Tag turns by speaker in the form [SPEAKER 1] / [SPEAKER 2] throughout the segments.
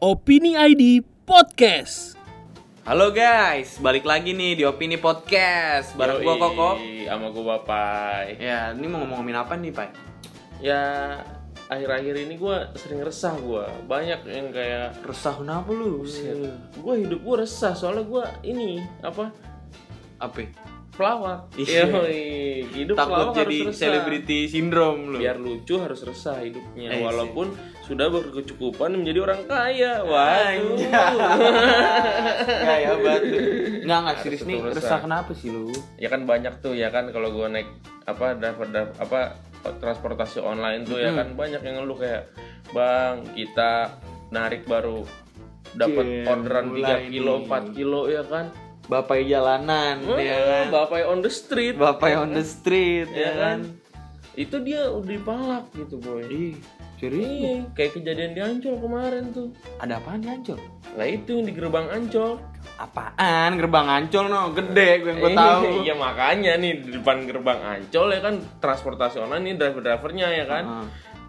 [SPEAKER 1] Opini ID Podcast.
[SPEAKER 2] Halo guys, balik lagi nih di Opini Podcast Bareng gua Koko
[SPEAKER 3] Sama gua Bapai.
[SPEAKER 2] Ya, ini mau ngomongin apa nih, Pak?
[SPEAKER 3] Ya akhir-akhir ini gua sering resah gua. Banyak yang kayak
[SPEAKER 2] Resah kenapa lu?
[SPEAKER 3] gua hidup gua resah soalnya gua ini apa
[SPEAKER 2] Apa?
[SPEAKER 3] pelawak.
[SPEAKER 2] Iya.
[SPEAKER 3] Yoi, hidup
[SPEAKER 2] Takut
[SPEAKER 3] pelawak
[SPEAKER 2] jadi
[SPEAKER 3] harus resah.
[SPEAKER 2] selebriti syndrome lu
[SPEAKER 3] Biar lucu harus resah hidupnya
[SPEAKER 2] Eh,
[SPEAKER 3] walaupun sudah berkecukupan menjadi orang kaya. Waduh.
[SPEAKER 2] Nggak ya, banget lu. Nggak, nggak,
[SPEAKER 3] Harus
[SPEAKER 2] serius
[SPEAKER 3] tetap
[SPEAKER 2] nih,
[SPEAKER 3] resah.
[SPEAKER 2] resah kenapa sih lu?
[SPEAKER 3] ya kan banyak tuh ya kan kalau gua naik apa driver driver- apa transportasi online tuh ya kan banyak yang ngeluh kayak bang kita narik baru dapat
[SPEAKER 2] Cie,
[SPEAKER 3] orderan 3
[SPEAKER 2] mulai nih.
[SPEAKER 3] kilo 4 kilo ya kan Hmm,
[SPEAKER 2] Bapak jalanan, ya kan?
[SPEAKER 3] bapak on the street
[SPEAKER 2] Bapak on the street,
[SPEAKER 3] ya kan itu dia udah dipalak gitu boy
[SPEAKER 2] Ih, serius?
[SPEAKER 3] Iya, kayak kejadian di Ancol kemarin tuh.
[SPEAKER 2] Ada apaan di Ancol?
[SPEAKER 3] Nah itu yang di gerbang Ancol.
[SPEAKER 2] Apaan? Gerbang Ancol no, gede gue yang gue tahu.
[SPEAKER 3] Iya makanya nih di depan gerbang Ancol ya kan transportasi online nih driver-drivernya ya kan.
[SPEAKER 2] Heeh.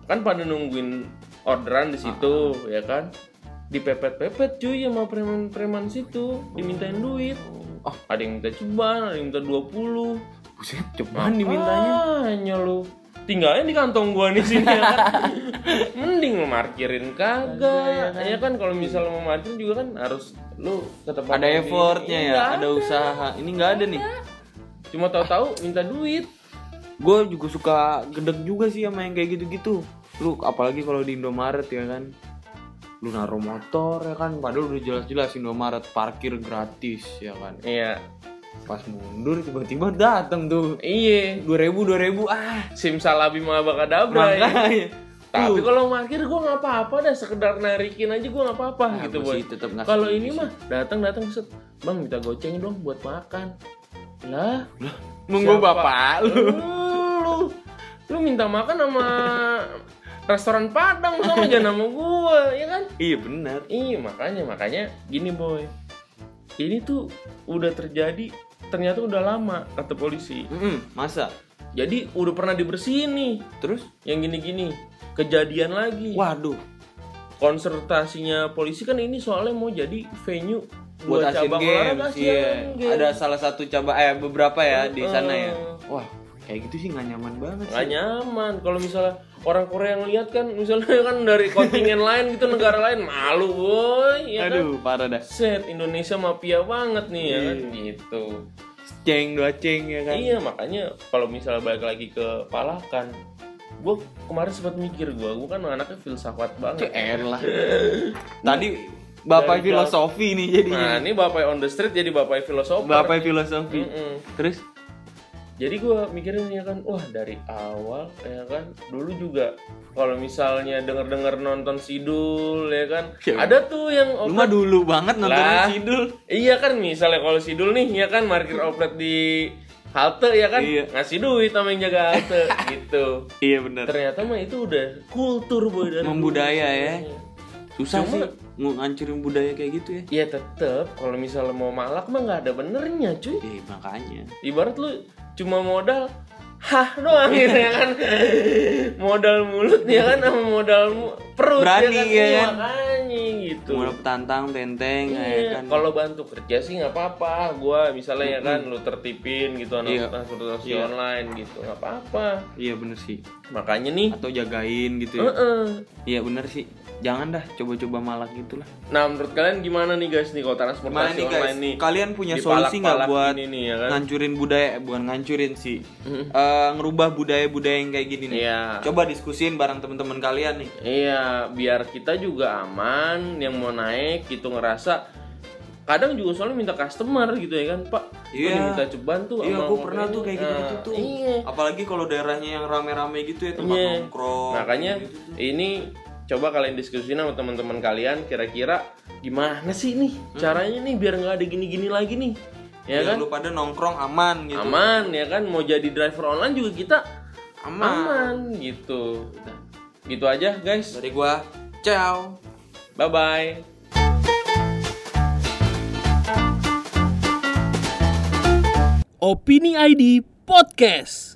[SPEAKER 3] kan pada nungguin orderan di situ ya kan dipepet-pepet cuy sama preman-preman situ dimintain duit
[SPEAKER 2] Oh.
[SPEAKER 3] ada yang minta ceban ada yang minta 20
[SPEAKER 2] Buset, cuman dimintanya.
[SPEAKER 3] hanya lu tinggalnya di kantong gua nih sini ya kan mending lu markirin kagak ya kan kalau misalnya mau markirin juga kan harus lu tetap bangun
[SPEAKER 2] ada
[SPEAKER 3] di-
[SPEAKER 2] effortnya ya,
[SPEAKER 3] Iya.
[SPEAKER 2] ada usaha. Ini nggak ada nih.
[SPEAKER 3] cuma tahu-tahu minta duit
[SPEAKER 2] Gue juga suka gedek juga sih sama yang kayak gitu-gitu. Lu apalagi kalau di Indomaret ya kan. Lu naruh motor ya kan, padahal udah jelas-jelas Indomaret parkir gratis ya kan.
[SPEAKER 3] iya
[SPEAKER 2] Pas mundur tiba-tiba datang tuh
[SPEAKER 3] iya
[SPEAKER 2] 2000 2000 ah.
[SPEAKER 3] simsalabim abakadabra ya
[SPEAKER 2] Makanya.
[SPEAKER 3] Tapi kalau parkir gue nggak apa-apa dah sekedar narikin aja gue nggak apa-apa
[SPEAKER 2] Nah,
[SPEAKER 3] gitu
[SPEAKER 2] gua
[SPEAKER 3] boy.
[SPEAKER 2] sih tetep nggak
[SPEAKER 3] Kalau
[SPEAKER 2] setuju
[SPEAKER 3] ini
[SPEAKER 2] sih.
[SPEAKER 3] mah datang datang set, bang minta goceng dong buat makan. Lah,
[SPEAKER 2] Nunggu
[SPEAKER 3] siapa?
[SPEAKER 2] bapak lu.
[SPEAKER 3] lu, lu minta makan sama restoran Padang sama jangan sama gue, ya kan?
[SPEAKER 2] Iya benar.
[SPEAKER 3] Iya makanya makanya gini boy. Ini tuh udah terjadi ternyata udah lama kata polisi.
[SPEAKER 2] masa?
[SPEAKER 3] Jadi udah pernah dibersihin nih
[SPEAKER 2] Terus?
[SPEAKER 3] yang gini-gini kejadian lagi.
[SPEAKER 2] Waduh,
[SPEAKER 3] konsertasinya polisi kan ini soalnya mau jadi venue
[SPEAKER 2] buat
[SPEAKER 3] dua
[SPEAKER 2] Asian
[SPEAKER 3] cabang olahraga
[SPEAKER 2] Games,
[SPEAKER 3] Asian
[SPEAKER 2] iya.
[SPEAKER 3] Games. Hmm.
[SPEAKER 2] Ada salah satu cabang eh beberapa ya di
[SPEAKER 3] Heeh.
[SPEAKER 2] sana ya. Wah, kayak gitu sih nggak nyaman banget
[SPEAKER 3] nggak nyaman kalau misalnya orang Korea yang lihat kan misalnya kan dari kontingen lain gitu negara lain malu boy ya kan
[SPEAKER 2] Aduh, parah dah.
[SPEAKER 3] set Indonesia mafia banget nih ya kan
[SPEAKER 2] Iya.
[SPEAKER 3] gitu
[SPEAKER 2] Ceng dua ceng ya kan.
[SPEAKER 3] iya makanya kalau misalnya balik lagi ke Palakan gue kemarin sempat mikir gue gue kan anaknya filsafat banget
[SPEAKER 2] CR lah. Tadi
[SPEAKER 3] Hmm.
[SPEAKER 2] bapak
[SPEAKER 3] Dari
[SPEAKER 2] filosofi nih jadinya.
[SPEAKER 3] nah ini bapak on the street jadi bapak filosofer
[SPEAKER 2] iya. bapak filosofi.
[SPEAKER 3] Mm-mm.
[SPEAKER 2] Terus
[SPEAKER 3] jadi gue mikirin ya kan wah dari awal ya kan dulu juga kalau misalnya denger denger nonton sidul ya kan
[SPEAKER 2] Ya.
[SPEAKER 3] ada tuh yang
[SPEAKER 2] lu mah
[SPEAKER 3] oplet
[SPEAKER 2] dulu banget
[SPEAKER 3] Lah.
[SPEAKER 2] nontonin Sidul.
[SPEAKER 3] iya kan misalnya kalau sidul nih ya kan markir oplet di halte ya kan
[SPEAKER 2] Iya.
[SPEAKER 3] ngasih duit sama yang jaga halte gitu
[SPEAKER 2] Iya benar.
[SPEAKER 3] ternyata mah itu udah kultur boy dari dulu
[SPEAKER 2] Membudaya ya.
[SPEAKER 3] sebenarnya.
[SPEAKER 2] Susah
[SPEAKER 3] Iya. Cuma-
[SPEAKER 2] sih mau ngancurin budaya kayak gitu ya.
[SPEAKER 3] ya tetep kalau misalnya mau malak mah nggak ada benernya cuy
[SPEAKER 2] Ya makanya.
[SPEAKER 3] ibarat lu cuma modal hah doang gitu ya kan modal mulut ya kan sama modal mu- perut
[SPEAKER 2] Berani, ya
[SPEAKER 3] Iya,
[SPEAKER 2] kan?
[SPEAKER 3] makanya gitu
[SPEAKER 2] Mulai petantang, tenteng, ya
[SPEAKER 3] Iya,
[SPEAKER 2] kan.
[SPEAKER 3] kalau bantu kerja sih nggak apa-apa gua misalnya ya kan lu tertipin gitu anak
[SPEAKER 2] Iya.
[SPEAKER 3] transportasi
[SPEAKER 2] Iya.
[SPEAKER 3] online gitu nggak apa-apa
[SPEAKER 2] Iya bener sih.
[SPEAKER 3] makanya nih
[SPEAKER 2] Atau jagain gitu ya.
[SPEAKER 3] heeh.
[SPEAKER 2] Iya bener sih. Jangan dah coba-coba malak gitu lah.
[SPEAKER 3] nah menurut kalian gimana nih guys nih kalau
[SPEAKER 2] Gimana
[SPEAKER 3] transportasi
[SPEAKER 2] nih guys?
[SPEAKER 3] online nih
[SPEAKER 2] Kalian punya
[SPEAKER 3] Di
[SPEAKER 2] solusi nggak
[SPEAKER 3] palak-palak
[SPEAKER 2] buat
[SPEAKER 3] ini nih, ya kan?
[SPEAKER 2] ngancurin budaya? Eh, bukan ngancurin sih. Eh, ngerubah budaya-budaya yang kayak gini nih.
[SPEAKER 3] Iya.
[SPEAKER 2] Coba diskusin bareng teman-teman kalian nih.
[SPEAKER 3] Iya, biar kita juga aman yang mau naik gitu ngerasa kadang juga soalnya minta customer gitu ya kan pak Lu
[SPEAKER 2] Iya.
[SPEAKER 3] diminta ceban tuh
[SPEAKER 2] Iya,
[SPEAKER 3] sama
[SPEAKER 2] gue pernah
[SPEAKER 3] mobil.
[SPEAKER 2] tuh kayak gitu-gitu
[SPEAKER 3] Nah,
[SPEAKER 2] tuh.
[SPEAKER 3] iya
[SPEAKER 2] Apalagi kalau daerahnya yang rame-rame gitu ya tempat
[SPEAKER 3] Iya.
[SPEAKER 2] nongkrong.
[SPEAKER 3] makanya
[SPEAKER 2] gitu.
[SPEAKER 3] ini coba kalian diskusin sama teman-teman kalian kira-kira gimana sih nih caranya nih biar nggak ada gini-gini lagi nih ya kan
[SPEAKER 2] Biar Hmm. Iya, lu pada nongkrong aman gitu.
[SPEAKER 3] aman ya kan mau jadi driver online juga kita
[SPEAKER 2] Aman.
[SPEAKER 3] aman gitu gitu aja guys
[SPEAKER 2] Dari gua, ciao.
[SPEAKER 3] bye bye
[SPEAKER 1] Opini ID Podcast.